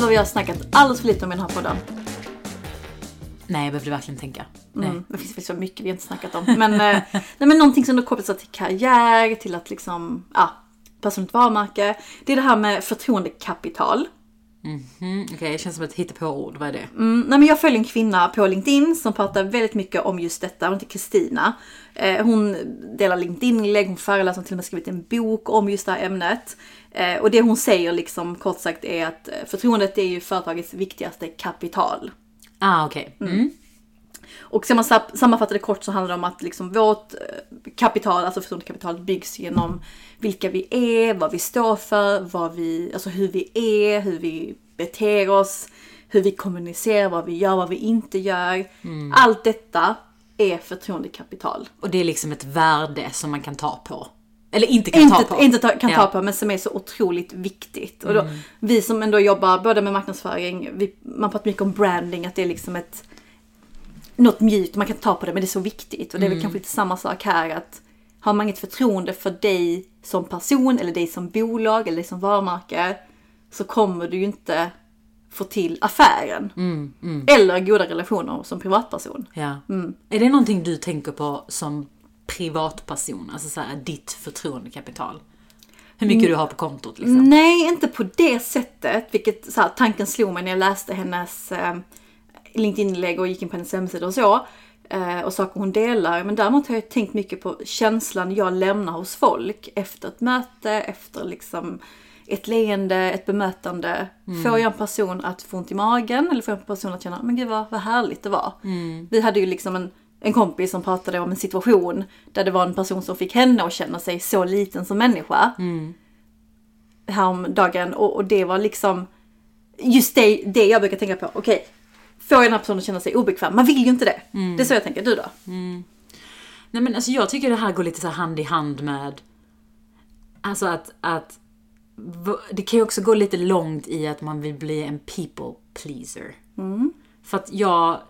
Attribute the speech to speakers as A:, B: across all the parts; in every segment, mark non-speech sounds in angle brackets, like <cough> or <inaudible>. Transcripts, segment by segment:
A: vad vi har snackat alldeles för lite om i den här podden.
B: Nej, jag behövde verkligen tänka. Nej.
A: Mm. Det finns faktiskt så mycket vi inte snackat om. Men, eh, <laughs> nej, men någonting som då kopplas till karriär, till att liksom, ja, personligt varumärke. Det är det här med förtroendekapital.
B: Mm, Okej, det känns som ett hittepå-ord. Vad är det?
A: Mm, nej men jag följer en kvinna på LinkedIn som pratar väldigt mycket om just detta. Hon heter Kristina. Eh, hon delar LinkedIn-inlägg, hon föreläser, hon har till och med skrivit en bok om just det här ämnet. Eh, och det hon säger liksom kort sagt är att eh, förtroendet är ju företagets viktigaste kapital.
B: Ah, okej. Mm.
A: Och ska man sa- sammanfatta det kort så handlar det om att liksom vårt eh, kapital, alltså förtroendekapitalet byggs genom vilka vi är, vad vi står för, vad vi, alltså hur vi är, hur vi beter oss, hur vi kommunicerar, vad vi gör, vad vi inte gör. Allt detta är förtroendekapital.
B: Och det är liksom ett värde som man kan ta på. Eller inte kan
A: Inte,
B: ta på.
A: inte ta, kan
B: Ja. Mm.
A: ta på men som är så otroligt viktigt. Och då, Vi som ändå jobbar både med marknadsföring, vi, man pratar mycket om branding, att det är liksom ett något mjukt, man kan ta på det men det är så viktigt. Och det är väl
B: Mm.
A: kanske lite samma sak här att har man inget förtroende för dig som person eller dig som bolag eller dig som varumärke så kommer du ju inte få till affären.
B: Mm,
A: Eller goda relationer som privatperson.
B: Ja. Är det någonting du tänker på som privatperson? Alltså så här, ditt förtroendekapital? Hur mycket du har på kontot liksom?
A: Nej, inte på det sättet. Vilket så här, tanken slog mig när jag läste hennes eh, LinkedIn-inlägg och gick in på hennes hemsida och så. Eh, och saker hon delar. Men däremot har jag tänkt mycket på känslan jag lämnar hos folk efter ett möte, efter liksom ett leende, ett bemötande. Får jag en person att få ont i magen eller får jag en person att känna, men gud vad, vad härligt det var. Vi hade ju liksom en, en kompis som pratade om en situation där det var en person som fick henne att känna sig så liten som människa häromdagen och, och det var liksom just det, det jag brukar tänka på. Okej, får jag den här personen att känna sig obekväm? Man vill ju inte det. Det är så jag tänker. Du då?
B: Nej men alltså jag tycker det här går lite så här hand i hand med Alltså att, att v- Det kan ju också gå lite långt i att man vill bli en people pleaser.
A: Mm.
B: För att jag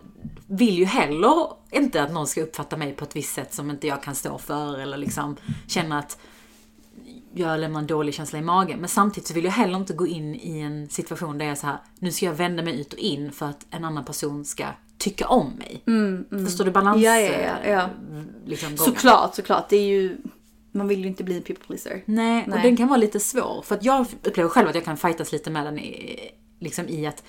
B: vill ju heller inte att någon ska uppfatta mig på ett visst sätt som inte jag kan stå för eller liksom känna att jag lämnar en dålig känsla i magen. Men samtidigt så vill jag heller inte gå in i en situation där jag är så här, nu ska jag vända mig ut och in för att en annan person ska tycka om mig. Förstår du balans?
A: Mm, Ja, ja, ja, ja.
B: Liksom, gången?
A: Såklart, såklart. Det är ju... Man vill ju inte bli en people pleaser.
B: Nej, och
A: Nej.
B: den kan vara lite svår. För att jag upplever själv att jag kan fightas lite med den i, liksom i att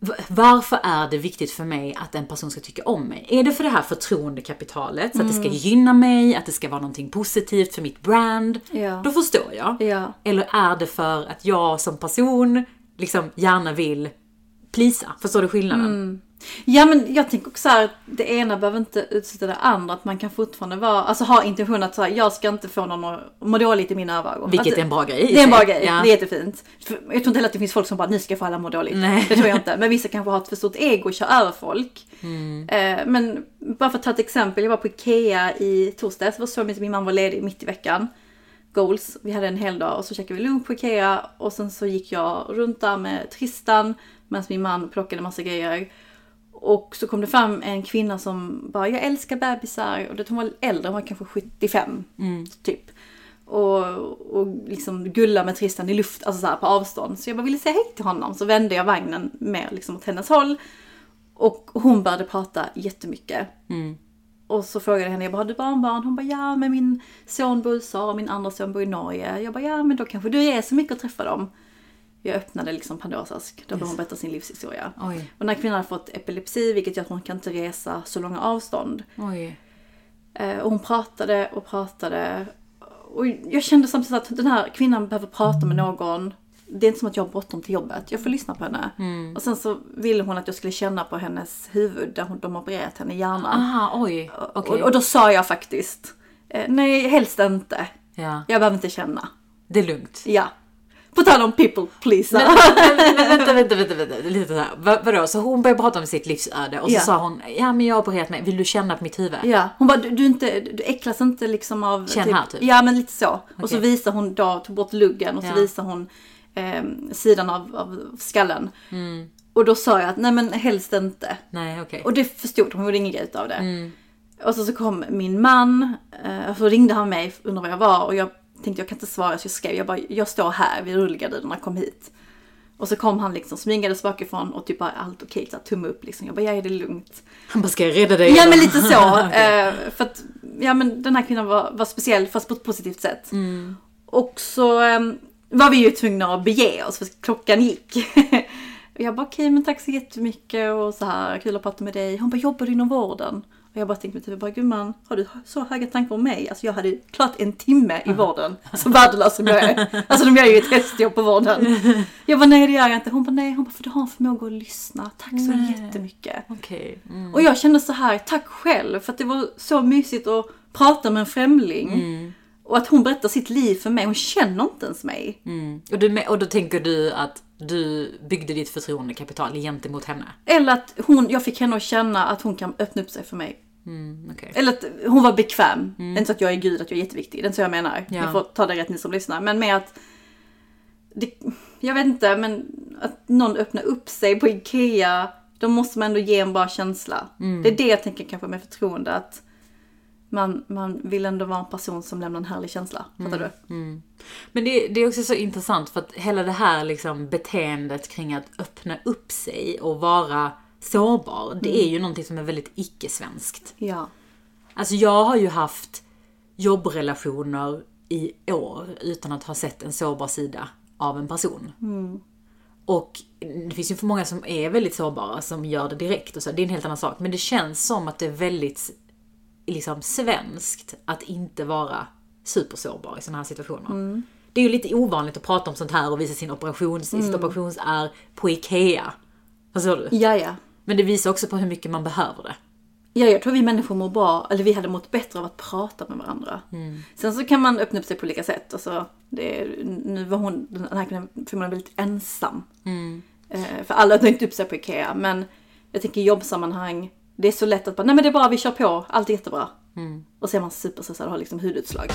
B: v- varför är det viktigt för mig att en person ska tycka om mig? Är det för det här förtroendekapitalet, så att det
A: Mm.
B: ska gynna mig, att det ska vara någonting positivt för mitt brand?
A: Ja.
B: Då förstår jag.
A: Ja.
B: Eller är det för att jag som person liksom gärna vill plisa? Förstår du skillnaden?
A: Mm. Ja men jag tänker också så här, att det ena behöver inte utsätta det andra. Att man kan fortfarande vara, alltså ha intentionen att så här, jag ska inte få någon att må dåligt i mina Alltså, övergång.
B: Vilket
A: Att-
B: är en bra grej i
A: Det är en bra
B: sig.
A: grej,
B: Ja.
A: det är jättefint. För jag tror inte heller att det finns folk som bara, nu ska jag få alla må dåligt.
B: Nej.
A: Det tror jag inte. Men vissa kanske har ett för stort ego och kör över folk.
B: Mm.
A: Eh, men bara för att ta ett exempel, jag var på Ikea i torsdags. Det var så mysigt, min man var ledig mitt i veckan. Goals, vi hade en hel dag och så käkade vi lunch på Ikea. Och sen så gick jag runt där med Tristan medan min man plockade massa grejer. Och så kom det fram en kvinna som bara, jag älskar bebisar. Och det, hon var äldre, hon var kanske 75. Typ. Och, och liksom gulla med Tristan i luft, alltså så här på avstånd. Så jag bara ville säga hej till honom. Så vände jag vagnen mer liksom åt hennes håll. Och hon började prata jättemycket. Och så frågade jag henne, jag bara, har du barnbarn? Hon bara, ja men min son bor i USA och min andra son bor i Norge. Jag bara, ja men då kanske du reser mycket och träffar dem. Jag öppnade liksom Pandoras ask, då hade hon berättat sin livshistoria.
B: Oj.
A: Och den här kvinnan hade fått epilepsi vilket gör att hon kan inte resa så långa avstånd.
B: Oj.
A: Eh, Och hon pratade och pratade. Och jag kände samtidigt att den här kvinnan behöver prata med någon. Det är inte som att jag har bråttom till jobbet. Jag får lyssna på henne.
B: Mm.
A: Och sen så ville hon att jag skulle känna på hennes huvud där hon, de har opererat henne i hjärnan.
B: Aha, oj. Ah, Okej.
A: Och, och då sa jag faktiskt. eh, Nej, helst inte.
B: Ja,
A: Jag behöver inte känna.
B: det är lugnt.
A: Ja. På tal om people pleaser.
B: Men vänta, vänta, vänta, vänta. Lite så här. Va- vadå? Så hon började prata om sitt livsöde och så
A: Ja.
B: sa hon, ja men jag har opererat mig, vill du känna på mitt huvud?
A: Ja, hon bara du, du, är inte, du äcklas inte liksom av...
B: Känn här, typ.
A: Ja men lite så. Och så
B: Okej.
A: visar hon då, tog bort luggen och så
B: Ja.
A: visar hon ehm, sidan av, av skallen.
B: Mm.
A: Och då sa jag att nej men helst inte.
B: Nej, okej.
A: Och det förstod hon, hon gjorde ingen grej utav det.
B: Mm.
A: Och så, så kom min man, eh, och så ringde han mig, undrade var jag var och jag tänkte jag kan inte svara så jag skrev, jag bara jag står här vid rullgardinerna, kom hit. Och så kom han liksom smygades bakifrån och typ bara allt okej, okay, tumme upp liksom. Jag bara, ja är det lugnt?
B: Han bara, ska jag rädda dig?
A: Ja men lite så. eh, för att, ja men den här kvinnan var, var speciell fast på ett positivt sätt. Och så ehm, var vi ju tvungna att bege oss för klockan gick. <laughs> och jag bara okej men tack så jättemycket och så här kul att prata med dig. Hon bara jobbar du inom vården? Och jag bara tänkte mig typ bara gumman har du så höga tankar om mig? Alltså jag hade klart en timme i vården. Så värdelös som jag är. Alltså de gör ju ett hästjobb på vården. Jag bara nej det gör jag inte. Hon bara nej hon bara för du har en förmåga att lyssna. Tack så
B: Nej.
A: jättemycket.
B: Okej. Mm.
A: Och jag kände så här, tack själv för att det var så mysigt att prata med en främling. Och att hon berättar sitt liv för mig, hon känner inte ens mig.
B: Mm. Och, du, med- och då tänker du att du byggde ditt förtroendekapital gentemot henne?
A: Eller att hon, jag fick henne att känna att hon kan öppna upp sig för mig.
B: Mm, okej.
A: Eller att hon var bekväm. Inte så att jag är gud, att jag är jätteviktig. Det är inte så jag menar.
B: Ja.
A: Jag får ta det rätt ni som lyssnar. Men med att... Det, jag vet inte, men att någon öppnar upp sig på Ikea. Då måste man ändå ge en bra känsla. Det är det jag tänker kanske med förtroende. Att man, man vill ändå vara en person som lämnar en härlig känsla. Fattar du?
B: Men det, det är också så intressant för att hela det här liksom beteendet kring att öppna upp sig och vara sårbar, det är ju någonting som är väldigt icke-svenskt.
A: Ja.
B: Alltså jag har ju haft jobbrelationer i år utan att ha sett en sårbar sida av en person. Och det finns ju för många som är väldigt sårbara som gör det direkt och så, det är en helt annan sak. Men det känns som att det är väldigt liksom svenskt att inte vara supersårbar i sådana här situationer. Det är ju lite ovanligt att prata om sånt här och visa sin operations, sitt operationsär på IKEA. Förstår du?
A: Ja, ja.
B: Men det visar också på hur mycket man behöver det.
A: Ja, jag tror vi människor mår bra, eller vi hade mått bättre av att prata med varandra. Sen så kan man öppna upp sig på olika sätt. Alltså, det, är- nu var hon, den här kvinnan förmodligen väldigt ensam. Eh, för alla öppnar inte upp sig på IKEA, men jag tänker i jobbsammanhang, det är så lätt att bara, nej men det är bra, vi kör på, allt är jättebra. Och så är man superstressad och har liksom hudutslag.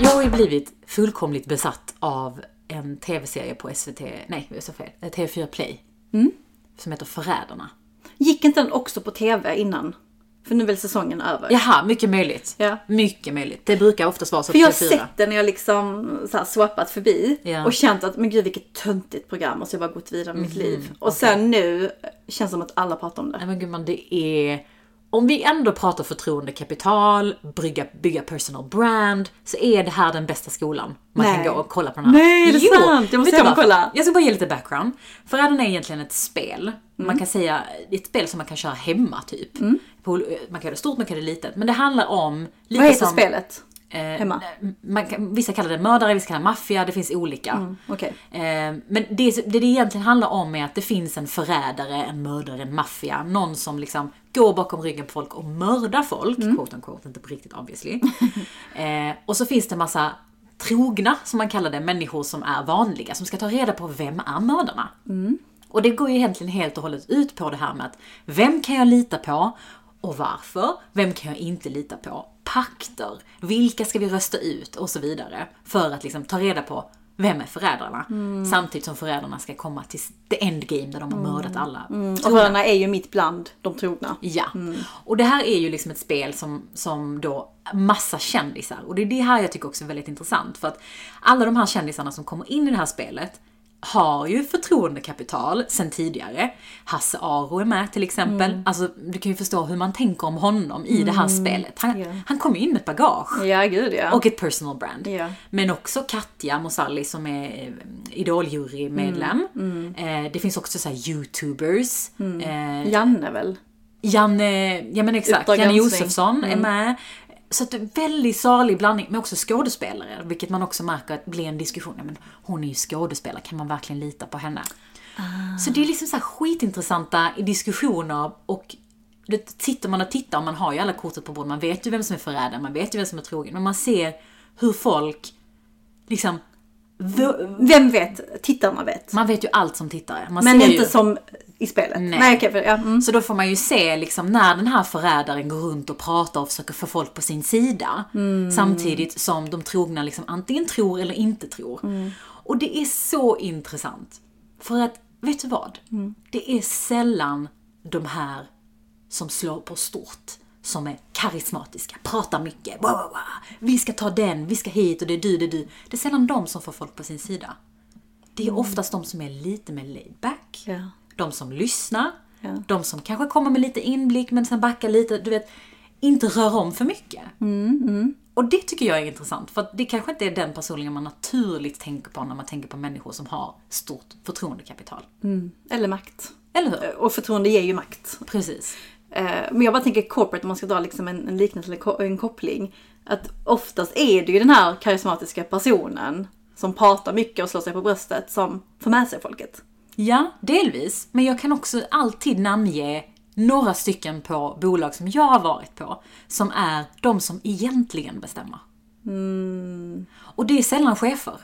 B: Jag har ju blivit fullkomligt besatt av en tv-serie på SVT, nej jag sa fel, Eh, TV4 Play.
A: Mm.
B: Som heter Förrädarna.
A: Gick inte den också på TV innan? För nu är väl säsongen över?
B: Jaha, mycket möjligt.
A: Ja.
B: Mycket möjligt. Det brukar oftast vara så
A: För jag har
B: på TV4.
A: sett den när jag liksom så här swappat förbi
B: Ja. Mhm.
A: och känt att men gud vilket töntigt program och så har jag bara gått vidare med mitt liv. Och sen nu eh, känns det som att alla pratar om det.
B: Nej men gumman, det är... Om vi ändå pratar förtroendekapital, brygga, bygga personal brand, så är det här den bästa skolan man
A: Nej.
B: kan gå och kolla på den här.
A: Nej, det är sant! Jag måste
B: vet du
A: hem och
B: varför?
A: kolla.
B: Jag ska bara ge lite background. Förrädarna är egentligen ett spel.
A: Mm.
B: Man kan säga, det är ett spel som man kan köra hemma typ. På, man kan göra det stort, man kan göra det litet. Men det handlar om... Lite
A: Vad heter
B: som,
A: spelet?
B: eh,
A: Hemma?
B: Man kan, vissa kallar det mördare, vissa kallar det maffia, det finns olika.
A: Okej.
B: Eh, Men det, det det egentligen handlar om är att det finns en förrädare, en mördare, en maffia. Någon som liksom går bakom ryggen på folk och mördar folk. Quote on quote, inte på riktigt obviously. <laughs> eh, och så finns det en massa trogna, som man kallar det, människor som är vanliga. Som ska ta reda på vem är mördarna. Och det går ju egentligen helt och hållet ut på det här med att vem kan jag lita på och varför? Vem kan jag inte lita på? Pakter, vilka ska vi rösta ut och så vidare. För att liksom ta reda på vem är förrädarna? Samtidigt som förrädarna ska komma till the endgame där de har mördat alla.
A: Och Bröderna Mm, är ju mitt bland de trogna.
B: Ja.
A: Mm.
B: Och det här är ju liksom ett spel som, som då massa kändisar. Och det är det här jag tycker också är väldigt intressant. För att alla de här kändisarna som kommer in i det här spelet har ju förtroendekapital sen tidigare. Hasse Aro är med till exempel.
A: Mm.
B: Alltså du kan ju förstå hur man tänker om honom i det här spelet. Han,
A: Ja.
B: han kommer ju in med ett bagage.
A: Ja, gud ja.
B: Och ett personal brand.
A: Ja.
B: Men också Katja Mosalli som är eh, Idol-jurymedlem.
A: Mm.
B: Eh, det finns också så här youtubers. Eh,
A: Janne väl?
B: Janne, ja men exakt,
A: Uppdrag
B: Janne
A: granskning.
B: Josefsson är med. Så att det är en väldigt salig blandning, men också skådespelare, vilket man också märker att blir en diskussion. Ja, men hon är ju skådespelare, kan man verkligen lita på henne? Så det är liksom så här skitintressanta diskussioner och det sitter man och tittar, och man har ju alla kortet på bordet, man vet ju vem som är förrädare, man vet ju vem som är trogen, men man ser hur folk liksom... vö-
A: Vem vet? Tittarna vet.
B: Man vet ju allt som tittare. Man
A: Men
B: ser
A: inte
B: ju.
A: som i spelet. Nej, okej. för, ja, mm.
B: Så då får man ju se liksom när den här förrädaren går runt och pratar och försöker få folk på sin sida. Samtidigt som de trogna liksom antingen tror eller inte tror. Och det är så intressant. För att, vet du vad? Det är sällan de här som slår på stort som är karismatiska, pratar mycket, wow, wow, wow. vi ska ta den, vi ska hit och det är du, det är du. Det är sällan de som får folk på sin sida. Det är oftast de som är lite mer laid back.
A: Ja.
B: De som lyssnar,
A: Ja.
B: de som kanske kommer med lite inblick men sen backar lite, du vet, inte rör om för mycket. Och det tycker jag är intressant, för att det kanske inte är den personligen man naturligt tänker på när man tänker på människor som har stort förtroendekapital.
A: Eller makt.
B: Eller hur?
A: Och förtroende ger ju makt.
B: Precis.
A: Eh, Men jag bara tänker corporate, om man ska dra liksom en, en liknelse eller ko- en koppling. Att oftast är det ju den här karismatiska personen som pratar mycket och slår sig på bröstet som får med sig folket.
B: Ja, delvis. Men jag kan också alltid namnge några stycken på bolag som jag har varit på, som är de som egentligen bestämmer.
A: Mm.
B: Och det är sällan chefer.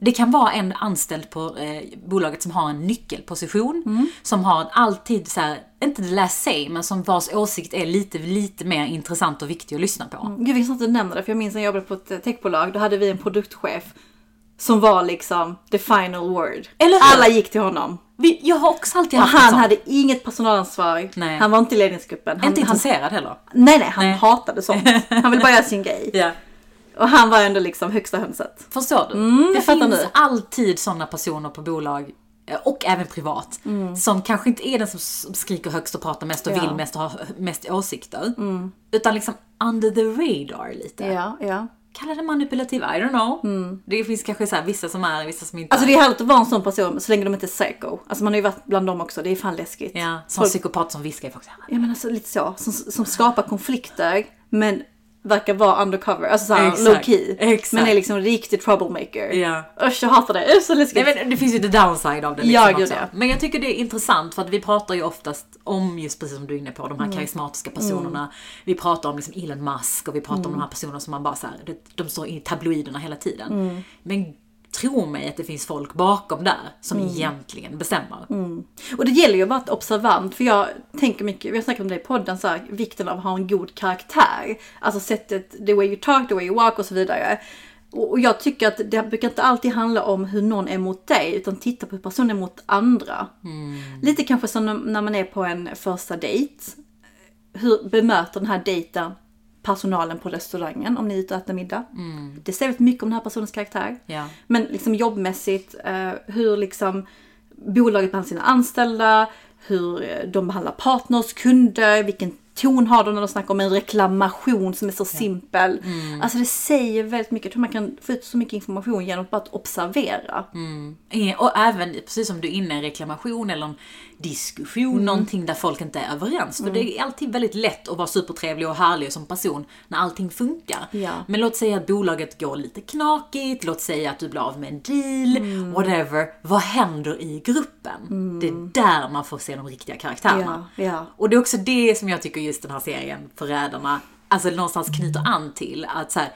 B: Det kan vara en anställd på eh, bolaget som har en nyckelposition,
A: Mm.
B: som har alltid så här, inte the last say, men som vars åsikt är lite, lite mer intressant och viktig att lyssna på.
A: Gud, vi ska inte nämna det, för jag minns när jag jobbade på ett eh, techbolag, då hade vi en produktchef som var liksom the final word.
B: Eller hur?
A: Alla gick till honom.
B: Vi, jag har också alltid
A: Och
B: haft en
A: han
B: sån.
A: hade inget personalansvar.
B: Nej.
A: Han var inte i ledningsgruppen. Han,
B: Inte
A: han,
B: intresserad heller.
A: nej, nej, han
B: Nej.
A: hatade
B: <laughs>
A: sånt. Han ville bara göra sin grej. Och han var ändå liksom högsta hönset.
B: Förstår du? det
A: Mm, jag fattar
B: finns
A: nu.
B: alltid sådana personer på bolag eh, och även privat som kanske inte är den som s- skriker högst och pratar mest och
A: Mm. Ja. Mm.
B: vill mest och har mest åsikter. Utan liksom under the radar lite.
A: Ja, ja.
B: Kallar det manipulativ, I don't know. Det finns kanske så här, vissa som är vissa som inte
A: Alltså
B: är.
A: det är härligt att vara en sån person så länge de inte är psycho. Alltså man har ju varit bland dem också, det är fan läskigt.
B: Ja, som
A: Folk,
B: psykopat som viskar i folks öron.
A: ja men alltså lite så, som, som skapar konflikter men verkar vara undercover, alltså såhär
B: Exakt,
A: low key.
B: exakt.
A: Men är liksom riktig troublemaker.
B: Ja.
A: Usch jag hatar det, usch så läskigt.
B: Nej, men det finns ju the downside av det.
A: Ja,
B: Liksom
A: gud,
B: också.
A: ja.
B: Men jag tycker det är intressant för att vi pratar ju oftast om just precis som du är inne på, de
A: Mm.
B: här karismatiska personerna. Vi pratar om liksom Elon Musk och vi pratar om
A: Mm.
B: de här personerna som man bara så här, det- de står i tabloiderna hela tiden.
A: Mm.
B: Men tro mig att det finns folk bakom där som
A: Mm.
B: egentligen bestämmer.
A: Och det gäller ju att vara observant för jag tänker mycket, vi har snackat om det i podden, så här, vikten av att ha en god karaktär. Alltså sättet, the way you talk, the way you walk och så vidare. Och och jag tycker att det brukar inte alltid handla om hur någon är mot dig utan titta på hur personen är mot andra. Lite kanske som när- när man är på en första dejt. Hur bemöter den här dejten personalen på restaurangen om ni är ute och äter middag? Det säger väldigt mycket om den här personens karaktär.
B: Ja.
A: Men liksom jobbmässigt, eh, hur liksom bolaget behandlar sina anställda, hur eh, de behandlar partners, kunder, vilken ton har de när de snackar om en reklamation som är så simpel. Alltså det säger väldigt mycket. Jag tror man kan få ut så mycket information genom att bara att observera.
B: Eh, Och även, precis som du är inne, en reklamation eller en diskussion,
A: Mm.
B: någonting där folk inte är överens. För det är alltid väldigt lätt att vara supertrevlig och härlig som person när allting funkar.
A: Ja.
B: Men låt säga att bolaget går lite knakigt, låt säga att du blir av med en deal,
A: Mm.
B: whatever. Vad händer i gruppen? Det är där man får se de riktiga karaktärerna.
A: Ja, ja.
B: Och det är också det som jag tycker just den här serien, Förrädarna, alltså någonstans knyter an till. Att så här,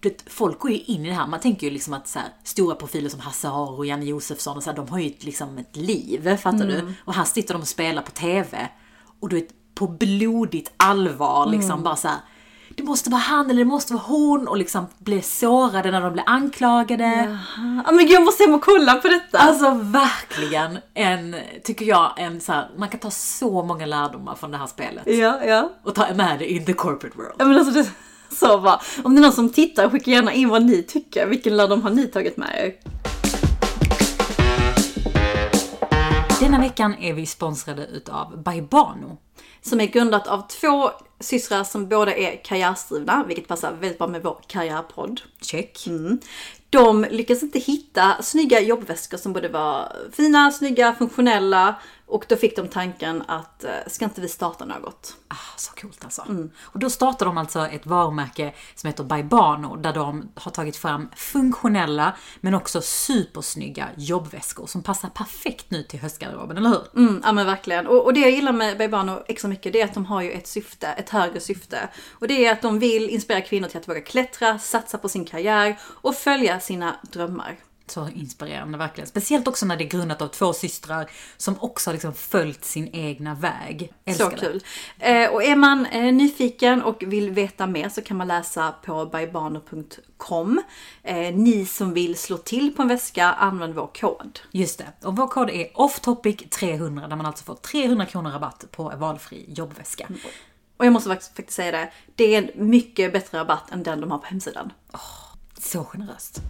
B: du vet, folk går ju in i det här, man tänker ju liksom att så här, stora profiler som Hasse Aro och Janne Josefsson, och så här, de har ju ett, liksom ett liv, fattar du? Och här sitter de och spelar på TV. Och du vet, på blodigt allvar liksom bara så här. Det måste vara han eller det måste vara hon och liksom blir sårade när de blir anklagade.
A: Ah, men gud, jag måste hem och kolla på detta!
B: Alltså verkligen en, tycker jag, en så här, man kan ta så många lärdomar från det här spelet
A: ja, ja.
B: och ta med det in the corporate world.
A: Ja, men alltså det, så bra. Om det är någon som tittar, skicka gärna in vad ni tycker. Vilken lärdom har ni tagit med er?
B: Denna veckan är vi sponsrade utav Baibano.
A: som är grundat av två systrar som båda är karriärstrivna, vilket passar väldigt bra med vår karriärpodd.
B: Check.
A: De lyckas inte hitta snygga jobbväskor som både var fina, snygga, funktionella och då fick de tanken att eh, ska inte vi starta något?
B: Ah, så coolt alltså. Och då startar de alltså ett varumärke som heter Baibano där de har tagit fram funktionella men också supersnygga jobbväskor som passar perfekt nu till höstgarderoben, eller hur?
A: Mm, ja men verkligen. Och, och det jag gillar med Baibano extra mycket det är att de har ju ett syfte, ett högre syfte. Och det är att de vill inspirera kvinnor till att våga klättra, satsa på sin karriär och följa sina drömmar.
B: Så inspirerande verkligen. Speciellt också när det är grundat av två systrar som också har liksom följt sin egna väg. Älskar
A: Så kul. Eh, och är man eh, nyfiken och vill veta mer så kan man läsa på baibano.com. Eh, ni som vill slå till på en väska, använd vår kod.
B: det. Just det. Och vår kod är offtopic300 där man alltså får 300 kronor rabatt på valfri jobbväska.
A: Och jag måste faktiskt faktiskt säga det. Det är en mycket bättre rabatt än den de har på hemsidan.
B: Så generöst.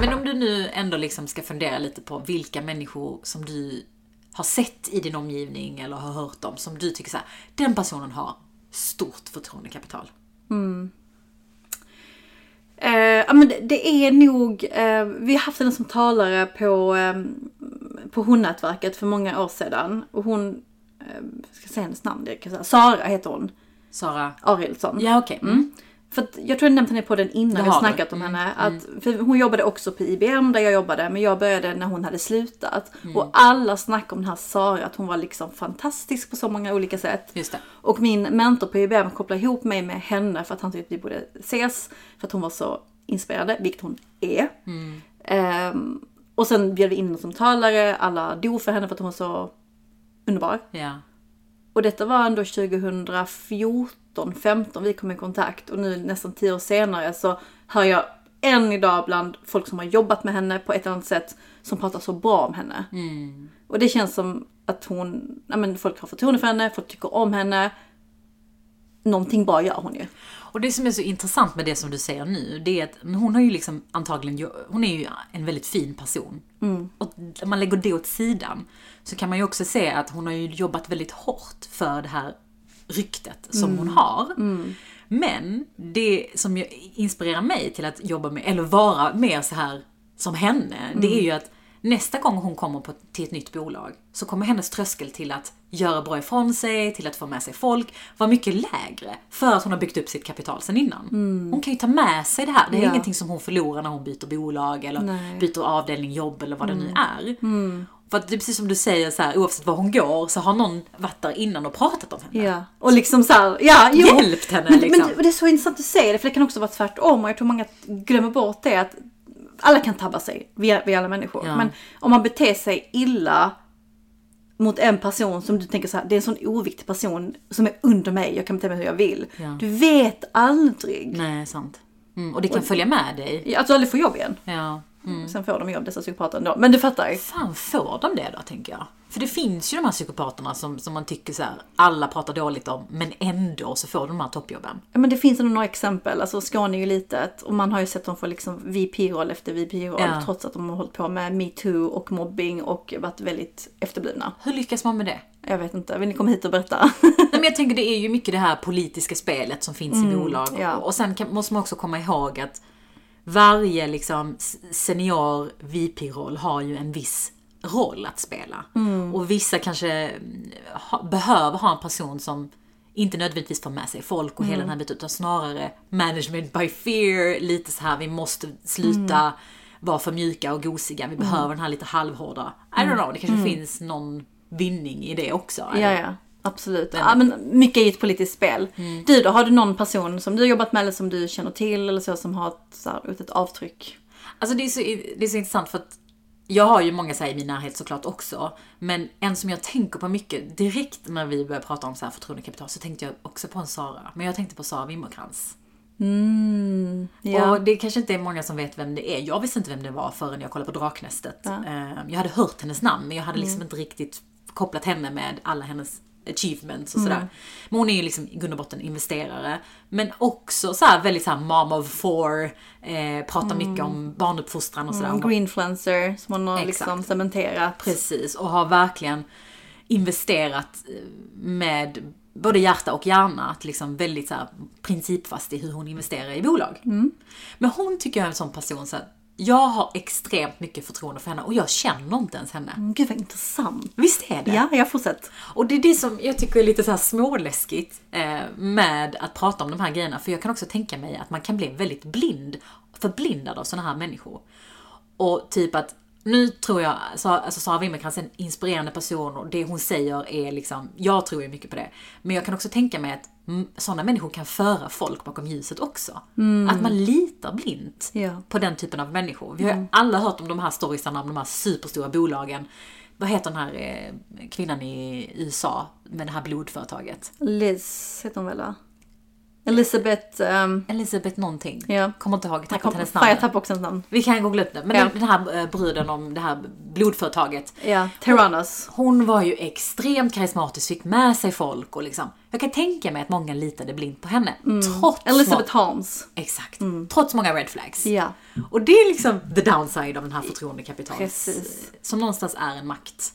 B: Men om du nu ändå liksom ska fundera lite på vilka människor som du har sett i din omgivning eller har hört om som du tycker så här, den personen har stort förtroendekapital.
A: Eh, ja, men det- det är nog, eh, vi har haft henne som talare på, eh, på honnätverket för många år sedan. Och hon, eh, jag ska säga hennes namn, det kan jag säga. Sara heter hon,
B: Sara?
A: Arildsson.
B: Ja, okej. Mm.
A: För att, jag tror jag nämnt henne på den innan vi har
B: har du.
A: snackat om henne. Att, för hon jobbade också på IBM där jag jobbade, men jag började när hon hade slutat. Och alla snackade om den här Sara, att hon var liksom fantastisk på så många olika sätt.
B: Just det.
A: Och min mentor på IBM kopplade ihop mig med henne för att han tyckte att vi borde ses. För att hon var så inspirerande, vilket hon är. Ehm, och sen bjöd vi in henne som talare, alla dog för henne för att hon var så underbar.
B: Ja.
A: Och detta var ändå 2014, 15 vi kom i kontakt och nu nästan 10 år senare så hör jag än idag bland folk som har jobbat med henne på ett eller annat sätt som pratar så bra om henne. Och det känns som att hon, ja men folk har förtroende för henne, folk tycker om henne. Någonting bra gör hon ju.
B: Och det som är så intressant med det som du säger nu, det är att hon har ju liksom antagligen, jo- hon är ju en väldigt fin person. Och om man lägger det åt sidan så kan man ju också se att hon har ju jobbat väldigt hårt för det här ryktet som hon har. Men det som ju inspirerar mig till att jobba med, eller vara mer så här som henne,
A: Mm.
B: det är ju att nästa gång hon kommer på, till ett nytt bolag så kommer hennes tröskel till att göra bra ifrån sig, till att få med sig folk, vara mycket lägre. För att hon har byggt upp sitt kapital sen innan. Hon kan ju ta med sig det här. Det är
A: Mm. Ja.
B: ingenting som hon förlorar när hon byter bolag eller
A: Nej. Mm.
B: byter avdelning, jobb eller vad det nu är. För att det är precis som du säger, så här, oavsett var hon går så har någon varit där innan och pratat om henne.
A: Ja. Och liksom såhär, ja jo.
B: Hjälpt henne,
A: men,
B: liksom.
A: men det är så intressant att säga det för det kan också vara tvärtom och jag tror många glömmer bort det att alla kan tabba sig, vi är, vi är alla människor.
B: Ja.
A: Men om man beter sig illa mot en person som du tänker så här, det är en sån oviktig person som är under mig, jag kan bete mig hur jag vill.
B: Ja.
A: Du vet aldrig.
B: Nej, sant. Mm, och det kan följa med dig.
A: Att du aldrig får jobb igen.
B: Ja.
A: Sen får de jobb dessa psykopater ändå. Men du fattar.
B: fan får de det då, tänker jag? För det finns ju de här psykopaterna som, som man tycker så här, alla pratar dåligt om, men ändå så får de de här toppjobben.
A: Ja, Men det finns ändå några exempel. Alltså Skåne är ju litet och man har ju sett dem få liksom VP-roll efter VP-roll
B: Ja.
A: trots att de har hållit på med metoo och mobbing och varit väldigt efterblivna.
B: Hur lyckas man med det?
A: Jag vet inte, vill ni komma hit och berätta?
B: Nej, men jag tänker det är ju mycket det här politiska spelet som finns i bolag.
A: ja.
B: Och sen kan, måste man också komma ihåg att varje liksom, s- senior VP-roll har ju en viss roll att spela. Och vissa kanske mm, ha, behöver ha en person som inte nödvändigtvis får med sig folk och hela den här biten utan snarare management by fear. Lite så här vi måste sluta vara för mjuka och gosiga. Vi behöver den här lite halvhårda. I don't know, det kanske finns någon vinning i det också. I don't
A: <laughs> ja, ja. Absolut. Mm. Ja, men mycket är ju ett politiskt spel. Du då, har du någon person som du har jobbat med eller som du känner till eller så som har ett, så här, gjort ett avtryck?
B: Alltså det är, så, det är så intressant för att jag har ju många så här i min närhet såklart också. Men en som jag tänker på mycket direkt när vi började prata om så här förtroendekapital så tänkte jag också på en Sara. Men jag tänkte på Sara Wimmercrantz.
A: Ja.
B: Och det kanske inte är många som vet vem det är. Jag visste inte vem det var förrän jag kollade på Draknästet. Eh, Jag hade hört hennes namn men jag hade liksom inte riktigt kopplat henne med alla hennes achievements och sådär. Men hon är ju liksom i grund och botten investerare. Men också så här väldigt så här mom of four, eh, pratar mycket om barnuppfostran och sådär. Hon
A: En greenfluencer som hon har
B: Exakt.
A: liksom cementerat.
B: Precis, och har verkligen investerat eh, med både hjärta och hjärna, att liksom väldigt så här, principfast i hur hon investerar i bolag. Men hon tycker jag är en sån person så att jag har extremt mycket förtroende för henne och jag känner inte ens henne.
A: Mm, Gud vad intressant.
B: Visst är det?
A: Ja, jag fortsätter.
B: Och det är det som jag tycker är lite så här småläskigt eh, med att prata om de här grejerna. För jag kan också tänka mig att man kan bli väldigt blind, förblindad av sådana här människor. Och typ att nu tror jag, så- alltså Sara Wimmercrantz är en inspirerande person och det hon säger är liksom, jag tror ju mycket på det. Men jag kan också tänka mig att mm, sådana människor kan föra folk bakom ljuset också. Att man litar blint
A: Ja.
B: på den typen av människor. Vi har
A: Mm.
B: ju alla hört om de här storiesarna om de här superstora bolagen. Vad heter den här eh, kvinnan i USA med det här blodföretaget?
A: Liz heter hon väl va? Elisabeth... ehm,
B: Elisabeth någonting.
A: Ja.
B: Kommer inte ihåg,
A: jag
B: tappat
A: kom-
B: hennes
A: fan,
B: namn.
A: jag tappade också hennes namn.
B: Vi kan googla upp det. Men
A: Ja.
B: den, den här eh, bruden om det här blodföretaget.
A: Ja, Terranos.
B: Hon var ju extremt karismatisk, fick med sig folk och liksom. Jag kan tänka mig att många litade blint på henne.
A: Mm.
B: Trots,
A: Elizabeth
B: må-
A: Holmes.
B: Exakt. trots många red flags.
A: Mm. Ja.
B: Och det är liksom the downside av den här förtroendekapitalet.
A: Precis.
B: Som någonstans är en makt.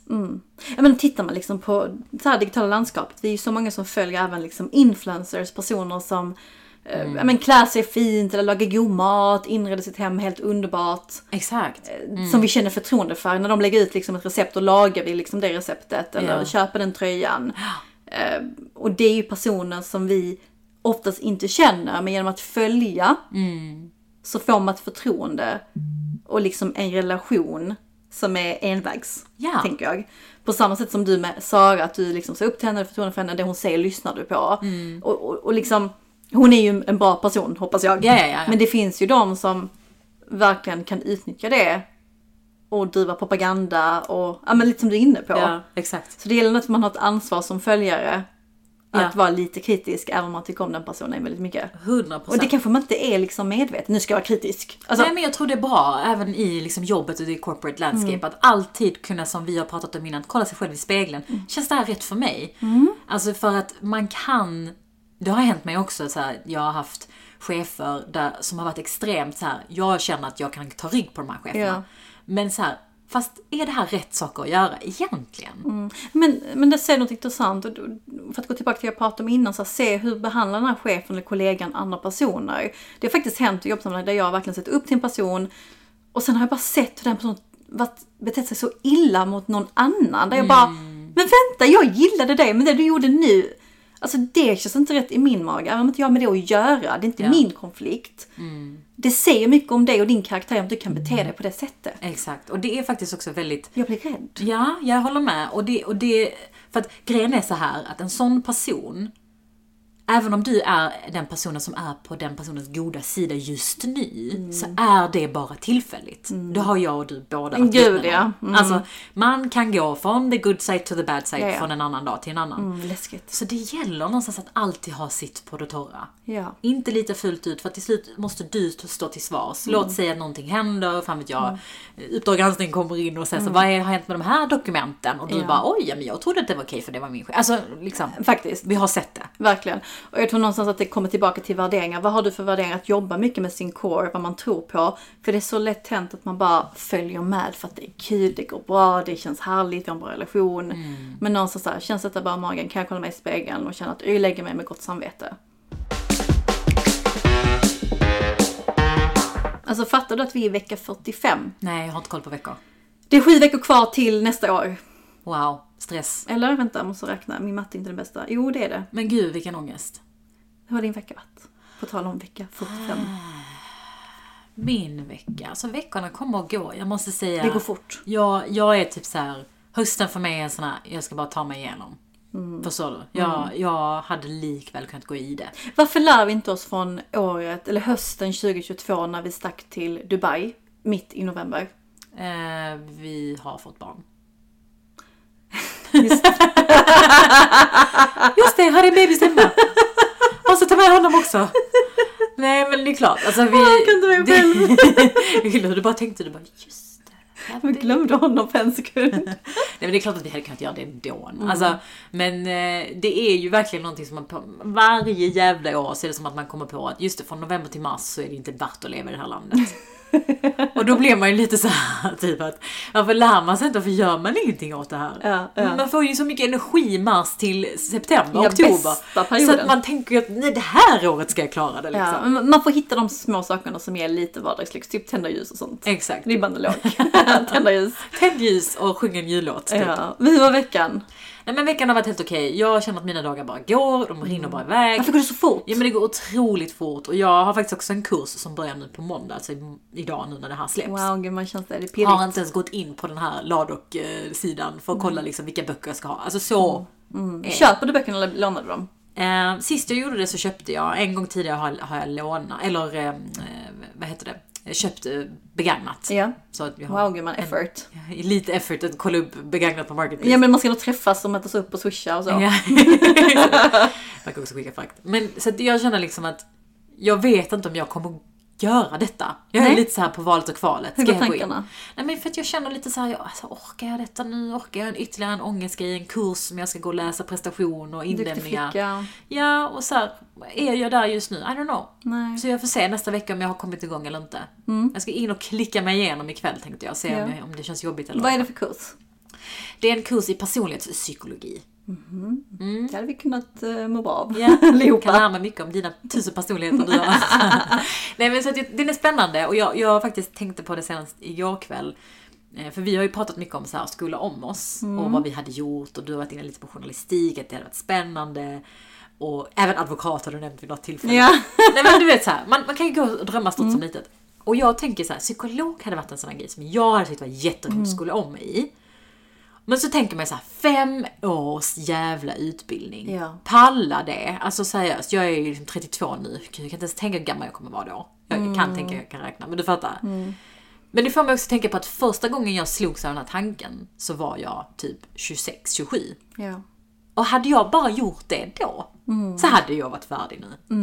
A: Ja, men tittar man liksom på det här digitala landskapet, vi är ju så många som följer även liksom influencers, personer som eh, ja, men klär sig fint eller lagar god mat, inreder sitt hem helt underbart. Eh,
B: Exakt.
A: Som vi känner förtroende för. När de lägger ut liksom ett recept och lagar vi liksom det receptet eller
B: Ja.
A: köper den tröjan. Eh, och det är ju personer som vi oftast inte känner men genom att följa
B: Mm.
A: så får man ett förtroende och liksom en relation som är envägs.
B: Ja.
A: Tänker jag. På samma sätt som du med Sara, att du liksom ser upp till henne, och förtroende för henne, det hon säger lyssnar du på.
B: Mm.
A: Och, och, och liksom, hon är ju en bra person hoppas jag.
B: Ja, ja, ja, ja.
A: Men det finns ju de som verkligen kan utnyttja det och driva propaganda och ja, men lite som du är inne på.
B: Ja, exakt.
A: Så det gäller att man har ett ansvar som följare att
B: Ja.
A: vara lite kritisk även om man tycker om den personen väldigt mycket.
B: 100%.
A: Och det kanske man inte är liksom medveten, nu ska jag vara kritisk. Alltså,
B: Nej men jag tror det är bra, även i liksom jobbet och i corporate landscape,
A: Mm.
B: att alltid kunna, som vi har pratat om innan, kolla sig själv i spegeln.
A: Mm.
B: Känns det här rätt för mig? Alltså för att man kan, det har hänt mig också, så här, jag har haft chefer där, som har varit extremt så här. jag känner att jag kan ta rygg på de här cheferna.
A: Ja.
B: Men så här, fast är det här rätt saker att göra egentligen?
A: Mm. Men, men det säger något intressant. Och du- För att gå tillbaka till det jag pratade om innan, så här, se hur behandlar den här chefen eller kollegan andra personer? Det har faktiskt hänt i jobbsammanhang där jag har verkligen sett upp till en person och sen har jag bara sett hur den personen varit, betett sig så illa mot någon annan. Där jag bara, men vänta jag gillade dig men det du gjorde nu, alltså det känns inte rätt i min mage. Även om inte jag har med det att göra, det är inte
B: Ja.
A: min konflikt. Det säger mycket om dig och din karaktär om du kan bete dig på det sättet.
B: Exakt, och det är faktiskt också väldigt
A: Jag blir rädd.
B: Ja, jag håller med. Och det, och det, för att grejen är så här att en sån person, även om du är den personen som är på den personens goda sida just nu,
A: Mm.
B: så är det bara tillfälligt. Det har jag och du båda varit
A: Gud,
B: vittnen om.
A: ja. Mm.
B: Alltså, man kan gå från the good side to the bad side
A: Ja, ja.
B: från en annan dag till en annan.
A: Mm, läskigt.
B: Så det gäller någonstans att alltid ha sitt på det torra.
A: Ja.
B: Inte lita fullt ut för att till slut måste du stå till svars.
A: Mm.
B: Låt säga att någonting händer, fan vet jag. Uppdrag granskning kommer in och säger så, vad är, har hänt med de här dokumenten? Och du
A: Mm. Ja.
B: bara, oj, ja, men jag trodde att det var okej för det var min chef. Alltså liksom,
A: Faktiskt.
B: vi har sett det.
A: Verkligen. Och jag tror någonstans att det kommer tillbaka till värderingar. Vad har du för värderingar? Att jobba mycket med sin core, vad man tror på. För det är så lätt hänt att man bara följer med för att det är kul, det går bra, det känns härligt, vi har en bra relation. Men någonstans så här, känns detta bra i magen? Kan jag kolla mig i spegeln och känna att jag lägger mig med gott samvete? Alltså fattar du att vi är i vecka 45?
B: Nej, jag har inte koll på veckor.
A: Det är sju veckor kvar till nästa år.
B: Wow, stress.
A: Eller vänta, jag måste räkna. Min matte är inte den bästa. Jo, det är det.
B: Men gud vilken ångest.
A: Hur har din vecka varit? På tal om vecka 45.
B: Min vecka, alltså veckorna kommer och går. Jag måste säga.
A: Det går fort.
B: Jag, jag är typ så här. hösten för mig är en sån här, jag ska bara ta mig igenom.
A: Mm.
B: Förstår du? Jag, jag hade likväl kunnat gå i det.
A: Varför lär vi inte oss från året, eller hösten 2022 när vi stack till Dubai mitt i november?
B: Eh, vi har fått barn.
A: Just-
B: Just det, jag hade en bebis hemma. Måste ta med honom också. Nej men det är klart. Alltså, vi, jag
A: kan inte vara
B: själv. Jag gillar hur du bara tänkte, du bara just det. jag
A: Vi glömde honom för en <laughs> sekund.
B: Nej men det är klart att vi hade kunnat göra det ändå.
A: Mm.
B: Alltså, men eh, det är ju verkligen någonting som man på, varje jävla år så är det som att man kommer på att just det, från november till mars så är det inte värt att leva i det
A: <laughs>
B: här landet. och då blir man ju lite så här <laughs> typ att varför lär man sig inte? Varför gör man ingenting åt det här?
A: Ja, ja.
B: Man får ju så mycket energi i mars till september,
A: Ja, bästa
B: oktober. Så
A: perioden.
B: att man tänker ju att nej, det här året ska jag klara det liksom.
A: Ja, men man får hitta de små sakerna som ger lite vardagslyx, typ tända ljus och sånt.
B: Exakt.
A: Det är bandolog. <laughs> tända ljus.
B: Tänd ljus och sjung en jullåt. Typ.
A: Ja. Men hur var veckan?
B: Nej men veckan har varit helt okej. Jag känner att mina dagar bara går, de
A: Mm.
B: rinner bara iväg.
A: Varför går det så fort?
B: Ja men det går otroligt fort och jag har faktiskt också en kurs som börjar nu på måndag, alltså i- idag nu när det här släpps.
A: Wow, gud man känns det. Det är
B: Jag
A: pirrigt.
B: har inte ens gått in på den här Ladok-sidan
A: Mm.
B: för att kolla liksom vilka böcker jag ska ha. Alltså så.
A: Köper du böckerna eller lånar du dem?
B: Eh, sist jag gjorde det så köpte jag, en gång tidigare har, har jag lånat, eller eh, eh, vad heter det, Jag köpt eh, begagnat.
A: Ja.
B: Så att jag har
A: Wow, gud man effort.
B: lite effort att kolla upp begagnat på Marketplace.
A: Ja men man ska nog träffas och mötas upp och swisha och så.
B: Ja. <laughs> Man kan också skicka frakt. Men så att jag känner liksom att jag vet inte om jag kommer göra detta? Jag är
A: Nej.
B: lite så här på valet och kvalet.
A: Hur
B: Ska
A: går
B: jag gå in?
A: tankarna?
B: Nej men för att jag känner lite så här, jag, alltså, orkar jag detta nu? Orkar jag en ytterligare en ångestgrej, en kurs som jag ska gå och läsa prestation och
A: Duktig
B: inlämningar?
A: flicka.
B: Ja, och så här, är jag där just nu? I don't know.
A: Nej.
B: Så jag får se nästa vecka om jag har kommit igång eller inte. Jag ska in och klicka mig igenom ikväll tänkte jag, se om,
A: Mm. Ja.
B: jag, om det känns jobbigt eller
A: Vad är det för kurs?
B: Det är en kurs i personlighetspsykologi.
A: Det hade vi kunnat uh, må bra av.
B: Ja, jag kan
A: Allihopa.
B: lära mig mycket om dina tusen personligheter du har. Nej men så att det- den är spännande och jag, jag faktiskt tänkte på det senast igår kväll. Eh, För vi har ju pratat mycket om så här, skola om oss och vad vi hade gjort och du har varit inne lite på journalistik, att det hade varit spännande. Och även advokat har du nämnt vid något tillfälle.
A: Ja.
B: Nej men du vet så här, man, man kan ju gå och drömma stort
A: Mm.
B: som litet. Och jag tänker så här, psykolog hade varit en sån här grej som jag hade tyckt var jätteroligt
A: Mm.
B: att skola om mig i. Men så tänker man ju så här, fem års jävla utbildning.
A: Ja.
B: Pallar det? Alltså seriöst, jag är ju liksom 32 nu. Gud, jag kan inte ens tänka hur gammal jag kommer vara då. Jag
A: Mm.
B: kan tänka, jag kan räkna, men du fattar. Men det får mig också tänka på att första gången jag slogs av den här tanken så var jag typ 26, 27.
A: Ja.
B: Och hade jag bara gjort det då, så hade jag varit färdig nu.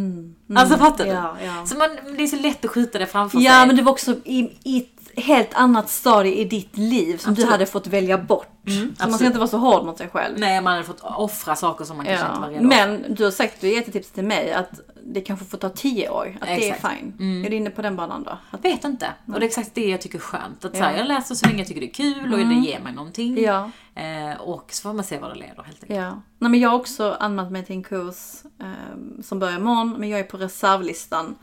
B: Alltså fattar du?
A: Mm. Ja, ja.
B: Så man, det är så lätt att skjuta det framför
A: ja,
B: sig.
A: men det var också i, i ett helt annat stadie i ditt liv som du
B: Absolut.
A: hade fått välja bort. så man
B: absolut.
A: ska inte vara så hård mot sig själv.
B: Nej, man hade fått offra saker som man kanske inte var
A: Ja.
B: redo för.
A: Men du har sagt, du har gett ett tips till mig att det kanske får ta 10 år. Att det är
B: Exakt.
A: fine. Är du inne på den banan då? Att,
B: Vet inte. Och det är exakt det jag tycker är skönt. Att så här, jag läser så länge jag tycker det är kul och det ger mig någonting.
A: Mm. Ja.
B: Eh, och så får man se vad det leder helt enkelt.
A: ja. Nej, men jag har också anmält mig till en kurs ehm, som börjar imorgon. Men jag är på reservlistan.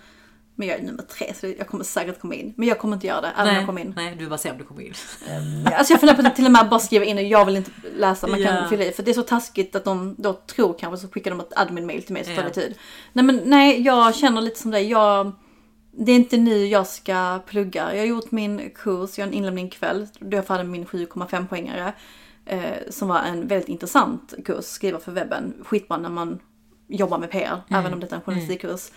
A: Men jag är nummer tre så jag kommer säkert komma in. Men jag kommer inte göra det, även om jag kommer in.
B: nej, du bara ser om du kommer in. <laughs>
A: Alltså jag funderar på att till och med bara skriva in och jag vill inte läsa, man kan
B: Ja.
A: fylla i. För det är så taskigt att de då tror kanske så skickar de ett admin-mail till mig så tar
B: Ja.
A: det tid. Nej men nej, jag känner lite som dig. Jag, det är inte nu jag ska plugga. Jag har gjort min kurs, jag har en inlämning ikväll. Då jag hade min 7,5 poängare. Eh, som var en väldigt intressant kurs, skriva för webben. Skitbra när man jobbar med PR, även om det är en journalistikkurs.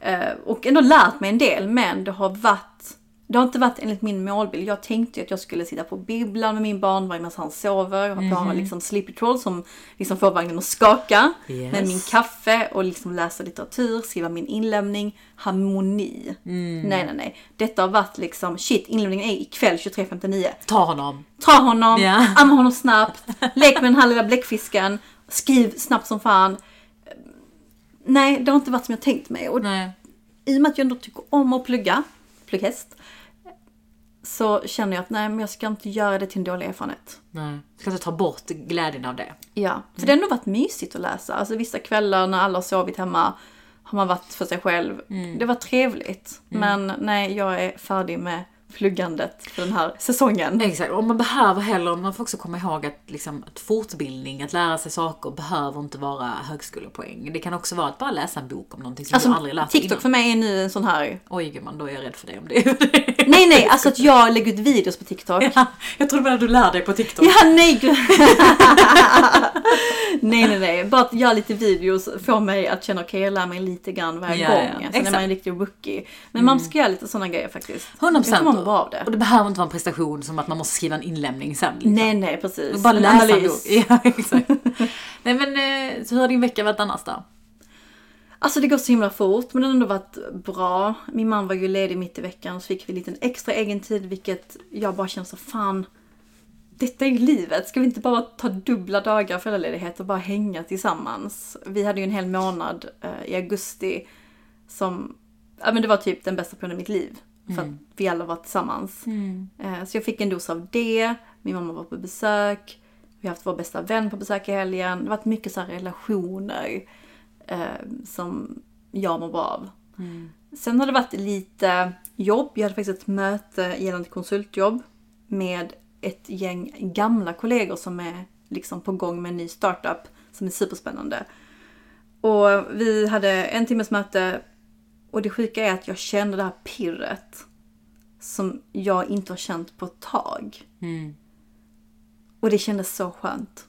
A: Eh, och ändå lärt mig en del, men det har varit det har inte varit enligt min målbild. Jag tänkte ju att jag skulle sitta på bibblan med min barnvagn medan han sover. Jag har bara liksom Sleepy Troll som liksom får vagnen att skaka.
B: Yes.
A: Med min kaffe och liksom läsa litteratur, skriva min inlämning. Harmoni. Nej, nej, nej. Detta har varit liksom shit, inlämningen är ikväll 23.59.
B: Ta honom.
A: Ta honom,
B: Ja.
A: amma honom snabbt, lek med den här lilla bläckfisken, skriv snabbt som fan. Nej, det har inte varit som jag tänkt mig. Och
B: Nej.
A: i och med att jag ändå tycker om att plugga, plugghäst, så känner jag att nej, men jag ska inte göra det till en dålig erfarenhet.
B: Nej. Ska inte ta bort glädjen av det.
A: Ja. För det har ändå varit mysigt att läsa. Alltså vissa kvällar när alla har sovit hemma har man varit för sig själv.
B: Mm.
A: Det var trevligt. Men nej, jag är färdig med pluggandet för den här säsongen.
B: Exakt, och man behöver heller, man får också komma ihåg att, liksom, att fortbildning, att lära sig saker behöver inte vara högskolepoäng. Det kan också vara att bara läsa en bok om någonting som du
A: Alltså,
B: aldrig läst
A: TikTok
B: innan.
A: för mig är nu en sån här...
B: Oj gumman, då är jag rädd för dig om det <laughs>
A: Nej, nej, alltså att jag lägger ut videos på TikTok.
B: ja, Jag trodde bara du lär dig på TikTok.
A: Ja, nej gud. <laughs> nej, nej, nej. Bara att göra lite videos får mig att känna okej, jag lär mig lite grann varje
B: Ja,
A: gång.
B: ja.
A: Sen är
B: Exakt.
A: man en riktig rookie. Men man ska göra lite sådana grejer faktiskt.
B: 100
A: Jag tror man mår
B: procent.
A: bra av det.
B: Och det behöver inte vara en prestation som att man måste skriva en inlämning sen. Liksom.
A: Nej, nej, precis.
B: Bara
A: En
B: läsa en bok.
A: analys.
B: <laughs> Ja, exakt. Nej men, eh, så hur har din vecka varit annars då?
A: Alltså det går så himla fort men det har ändå varit bra. Min man var ju ledig mitt i veckan så fick vi lite en extra egen tid vilket jag bara känner så fan. Detta är ju livet. Ska vi inte bara ta dubbla dagar föräldraledighet och bara hänga tillsammans? Vi hade ju en hel månad eh, i augusti som, ja men det var typ den bästa perioden i mitt liv. För att vi alla var tillsammans. Eh, Så jag fick en dos av det. Min mamma var på besök. Vi har haft vår bästa vän på besök i helgen. Det har varit mycket så här relationer eh, som jag mår bra av. Sen har det varit lite jobb. Jag hade faktiskt ett möte gällande konsultjobb med ett gäng gamla kollegor som är liksom på gång med en ny startup som är superspännande. Och vi hade en timmes möte och det sjuka är att jag kände det här pirret som jag inte har känt på ett tag. Och det kändes så skönt.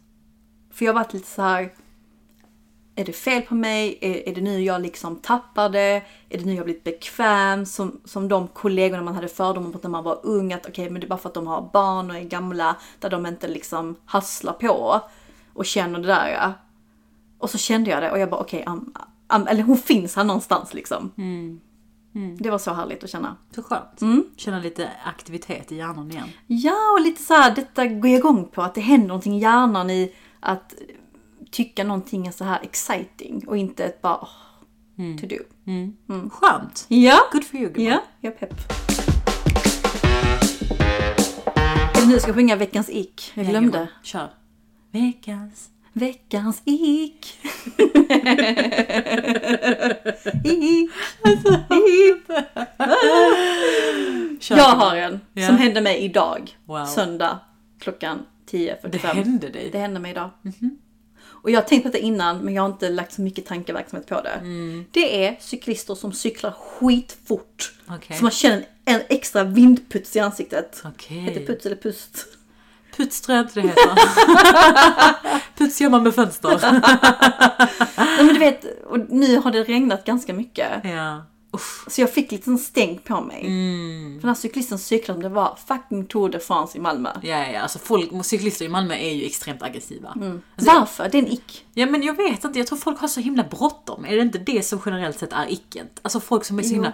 A: För jag har varit lite så här. Är det fel på mig? Är, är det nu jag liksom tappar det? Är det nu jag blivit bekväm? Som, som de kollegorna man hade fördomar mot när man var ung. Att okej, men det är bara för att de har barn och är gamla. Där de inte liksom hasslar på. Och känner det där. Ja. Och så kände jag det och jag bara okej, am- am- eller hon finns här någonstans liksom. Det var så härligt att känna.
B: Så skönt. Känna lite aktivitet i hjärnan igen.
A: Ja, och lite så här, detta går jag igång på. Att det händer någonting i hjärnan i att tycka någonting är så här exciting och inte ett bara åh, to do.
B: Mm. Skönt!
A: Ja,
B: Good for you gumman.
A: ja, jag är pepp. Och Nu ska jag sjunga veckans ick. Jag glömde.
B: Jajamän. Kör. Veckans.
A: Veckans ick. ick. ick. <laughs>
B: Kör.
A: Jag har en
B: Ja.
A: som hände mig idag.
B: Wow.
A: Söndag klockan 10.45.
B: Det hände dig. Mhm.
A: Det hände mig idag. Och jag har tänkt på det innan men jag har inte lagt så mycket tankeverksamhet på det.
B: Mm.
A: Det är cyklister som cyklar skitfort.
B: Okej.
A: Så man känner en, en extra vindputs i ansiktet.
B: Okej.
A: Heter det puts eller pust?
B: Puts tror jag inte det <laughs> heter. Puts gör man med fönster. <laughs>
A: Nej men du vet, och nu har det regnat ganska mycket.
B: ja. Usch.
A: Så jag fick lite sån stänk på mig.
B: Mm.
A: För den här cyklisten cyklade om det var fucking Tour de France i Malmö.
B: Ja, ja, ja. Alltså folk, cyklister i Malmö är ju extremt aggressiva. Alltså-
A: Varför? Det är en ick.
B: Ja men jag vet inte, jag tror folk har så himla bråttom. Är det inte det som generellt sett är icket? Alltså folk som är så himla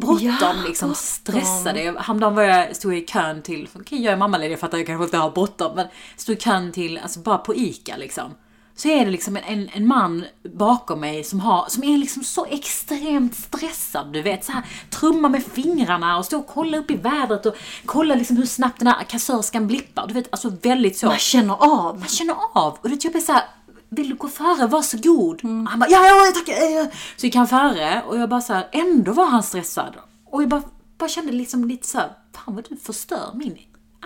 B: bråttom,
A: Ja,
B: liksom
A: bråttom.
B: stressade. Jag- Häromdagen var jag, stod jag i kön till, okej jag är mammaledig, jag fattar jag kanske inte har bråttom, men stod i kön till, alltså bara på ICA liksom. Så är det liksom en, en, en man bakom mig som, har, som är liksom så extremt stressad, du vet. Så här, trumma med fingrarna och stå och kolla upp i vädret och kolla liksom hur snabbt den här kassörskan blippar. Du vet, alltså väldigt så
A: Man känner av.
B: man känner av. Och typ det jag blev såhär, vill du gå före? Var så god. Och han bara, ja, ja, tack. eh, eh." Så gick han före och jag bara såhär, ändå var han stressad. Och jag bara, bara kände liksom lite såhär, fan vad du förstör min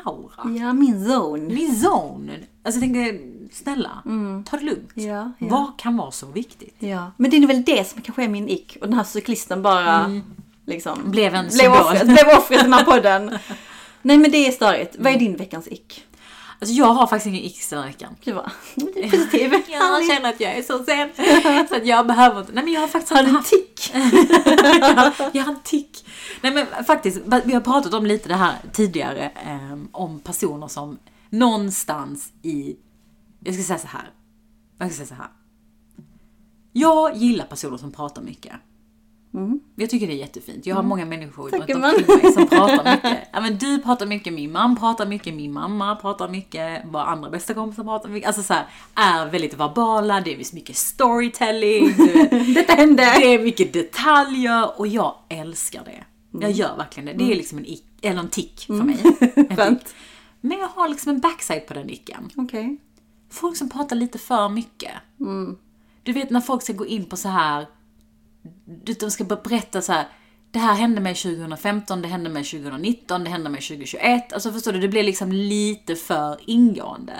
B: aura.
A: Ja, min zone.
B: Min zone. Alltså jag tänkte, snälla, ta det lugnt.
A: Ja, ja.
B: Vad kan vara så viktigt?
A: Ja, men det är väl det som kanske är min ick. Och den här cyklisten bara liksom
B: Mm. Blev en
A: blev
B: symbol.
A: offret, blev offret i den
B: <laughs>
A: här podden. Nej men det är störigt. Vad är
B: Mm.
A: din veckans ick?
B: Alltså jag har faktiskt ingen x den här veckan.
A: Gud vad <laughs> positiv.
B: Jag känner att jag är så <laughs> sen så att jag behöver inte. Nej men jag har faktiskt
A: Har du
B: inte
A: en
B: haft
A: tick?
B: ja, jag har en tick. Nej men faktiskt, vi har pratat om lite det här tidigare, eh, om personer som någonstans i, jag ska säga så här. Jag ska säga så här. Jag gillar personer som pratar mycket. Jag tycker det är jättefint. Jag har många människor runt
A: Tycker
B: omkring
A: man.
B: mig som pratar mycket. Ja, men du pratar mycket, min man pratar mycket, min mamma pratar mycket, våra andra bästa kompisar pratar mycket. Alltså så här, är väldigt verbala, det är mycket storytelling. Du vet.
A: Detta hände.
B: Det är mycket detaljer och jag älskar det. Jag gör verkligen det. Det är liksom en ick, eller en tick för mig. En
A: Skönt.
B: tick. Men jag har liksom en backside på den icken.
A: Okej.
B: Folk som pratar lite för mycket. Du vet när folk ska gå in på så här du, de ska bara berätta så här. Det här hände mig 2015, det hände mig 2019, det hände mig 2021. Alltså förstår du, det blir liksom lite för ingående.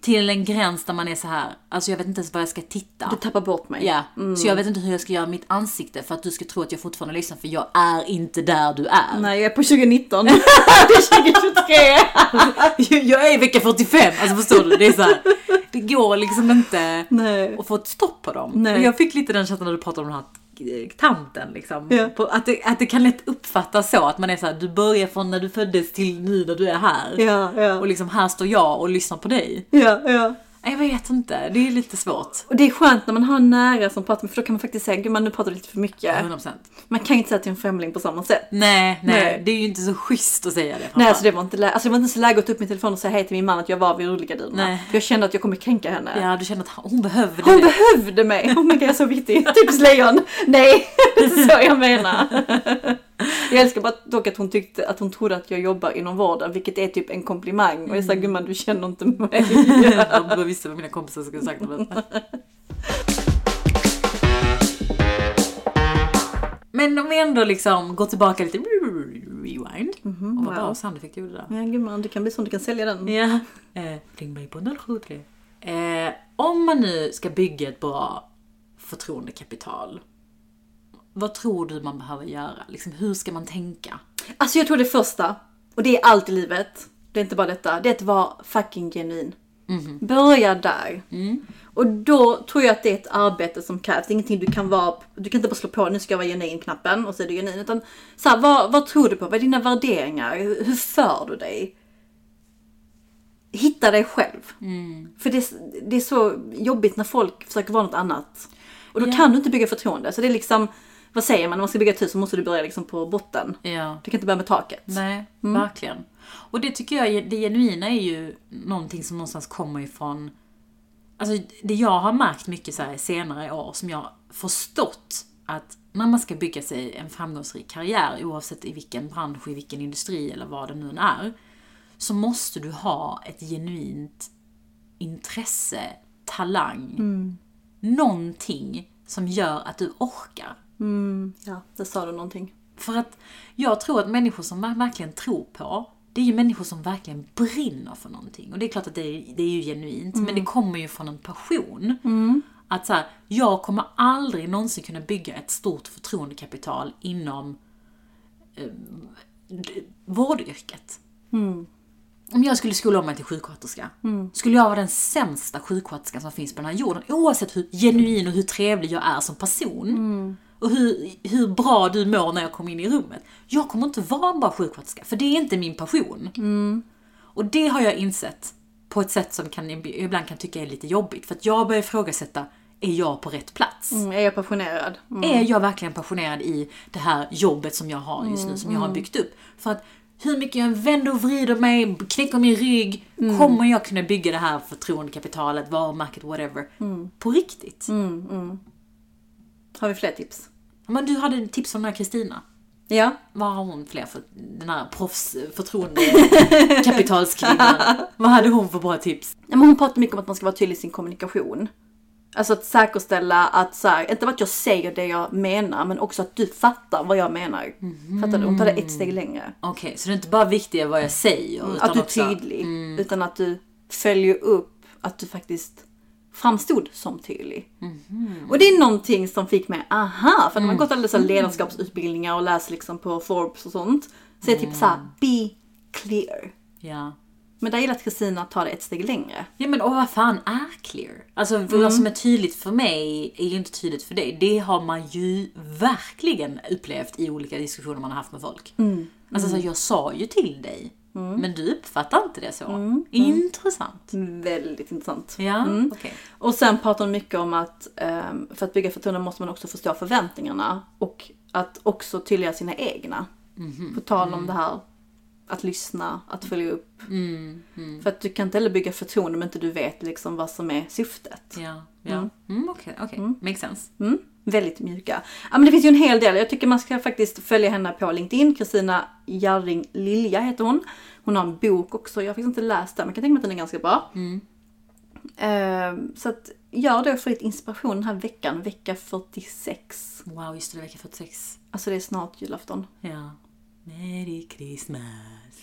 B: Till en gräns där man är så här, alltså jag vet inte ens vad jag ska titta.
A: Du tappar bort mig.
B: Ja, så jag vet inte hur jag ska göra mitt ansikte för att du ska tro att jag fortfarande lyssnar för jag är inte där du är.
A: Nej jag är på 2019. <laughs> det är 2023.
B: <laughs> Jag är i vecka 45, alltså förstår du? Det är så här, det går liksom inte
A: Nej.
B: att få ett stopp på dem.
A: Nej.
B: Och jag fick lite den känslan när du pratade om den här eh, tanten liksom.
A: Ja.
B: På, att, det, att det kan lätt uppfattas så att man är så här, du börjar från när du föddes till nu när du är här.
A: Ja, ja.
B: Och liksom här står jag och lyssnar på dig.
A: Ja, ja.
B: Nej, Jag vet inte, det är lite svårt.
A: Och det är skönt när man har en nära som pratar för då kan man faktiskt säga gud man nu pratar du lite för mycket.
B: 100%.
A: Man kan ju inte säga till en främling på samma sätt.
B: Nej, nej,
A: Nej.
B: det är ju inte så schysst att säga det.
A: Nej, alltså det var inte, lä- alltså det var inte så läge att ta upp min telefon och säga hej till min man att jag var vid rullgardinerna.
B: Nej.
A: För jag kände att jag kommer kränka henne.
B: Ja, du känner att hon behövde
A: Hon
B: det.
A: behövde mig! Oh my god, jag är så viktig. Typiskt lejon! Nej, <laughs> det är inte så jag menar. Jag älskar bara dock att hon tyckte att hon trodde att jag jobbar inom vården, vilket är typ en komplimang. Och jag sa gumman, du känner inte mig.
B: De visste vad mina kompisar skulle sagt om detta. Men om vi ändå liksom går tillbaka lite rewind. och vad
A: wow.
B: bra soundeffekt du gjorde där.
A: Ja gumman, du kan bli sån, du kan sälja den.
B: Ja. Eh, ring mig på 073. Eh, om man nu ska bygga ett bra förtroendekapital. Vad tror du man behöver göra? Liksom, hur ska man tänka?
A: Alltså jag tror det första, och det är allt i livet, det är inte bara detta, det är att vara fucking genuin. Börja där. Och då tror jag att det är ett arbete som krävs. Det är ingenting du kan vara, du kan inte bara slå på nu ska jag vara genuin-knappen och så är du genuin. Utan så här, vad, vad tror du på? Vad är dina värderingar? Hur, hur för du dig? Hitta dig själv. För det, är- det är så jobbigt när folk försöker vara något annat. Och då kan du inte bygga förtroende. Så det är liksom, vad säger man, när man ska bygga ett hus så måste du börja liksom på botten.
B: Ja.
A: Du kan inte börja med taket.
B: Nej, verkligen. Och det tycker jag, det genuina är ju någonting som någonstans kommer ifrån Alltså det jag har märkt mycket så här senare i år som jag förstått att när man ska bygga sig en framgångsrik karriär oavsett i vilken bransch, i vilken industri eller vad det nu än är. Så måste du ha ett genuint intresse, talang, någonting som gör att du orkar.
A: Ja, där sa du någonting.
B: För att jag tror att människor som man verkligen tror på, det är ju människor som verkligen brinner för någonting. Och det är klart att det är, det är ju genuint, men det kommer ju från en passion. Att så här, jag kommer aldrig någonsin kunna bygga ett stort förtroendekapital inom eh, d- vårdyrket. Om jag skulle skola om mig till sjuksköterska, skulle jag vara den sämsta sjuksköterskan som finns på den här jorden. Oavsett hur genuin och hur trevlig jag är som person. Och hur, hur bra du mår när jag kommer in i rummet. Jag kommer inte vara en bra sjuksköterska, för det är inte min passion. Och det har jag insett på ett sätt som kan, jag ibland kan tycka är lite jobbigt. För att jag börjar ifrågasätta, är jag på rätt plats?
A: Mm, är jag passionerad? Mm.
B: Är jag verkligen passionerad i det här jobbet som jag har just nu, som jag har byggt upp? För att hur mycket jag än vänder och vrider mig, knäcker min rygg, kommer jag kunna bygga det här förtroendekapitalet, varumärket, whatever, på riktigt?
A: Har vi fler tips?
B: Men du hade tips om den här Kristina.
A: Ja.
B: Vad har hon fler för den här proffsförtroendekapitalskvinnan? Vad hade hon för bra tips?
A: Ja, Men hon pratar mycket om att man ska vara tydlig i sin kommunikation. Alltså att säkerställa att så här, inte bara att jag säger det jag menar men också att du fattar vad jag menar. Fattar du? Hon tar det ett steg längre.
B: Okej, så det är inte bara viktigt vad jag säger utan
A: att du är
B: också... Mm.
A: tydlig. Utan att du följer upp att du faktiskt framstod som tydlig.
B: Mhm.
A: Och det är någonting som fick mig, aha! För när
B: Mm.
A: man gått alla dessa ledarskapsutbildningar och läst liksom på Forbes och sånt. Så är det typ
B: Mm.
A: såhär, be clear.
B: Ja.
A: Men där gillar att Kristina tar det ett steg längre.
B: Ja men och vad fan är clear? Alltså för vad som är tydligt för mig är ju inte tydligt för dig. Det har man ju verkligen upplevt i olika diskussioner man har haft med folk. Alltså så här, jag sa ju till dig, men du uppfattar inte det så. Intressant.
A: Väldigt intressant.
B: Mm. Ja, okej.
A: Och sen pratar hon mycket om att ehm, för att bygga förtroende måste man också förstå förväntningarna och att också tydliggöra sina egna. På tal om det här att lyssna, att följa upp. För att du kan inte heller bygga förtroende om inte du vet liksom vad som är syftet.
B: Ja, ja. Mm. okej, okej. Makes sense.
A: Mm. Väldigt mjuka. Ja, men det finns ju en hel del. Jag tycker man ska faktiskt följa henne på LinkedIn. Kristina Jarring Lilja heter hon. Hon har en bok också. Jag har faktiskt inte läst den men jag kan tänka mig att den är ganska bra.
B: Mm.
A: Eh, så att gör det för lite inspiration den här veckan. Vecka 46.
B: Wow, just det, vecka 46.
A: Alltså det är snart julafton.
B: Ja. Merry Christmas.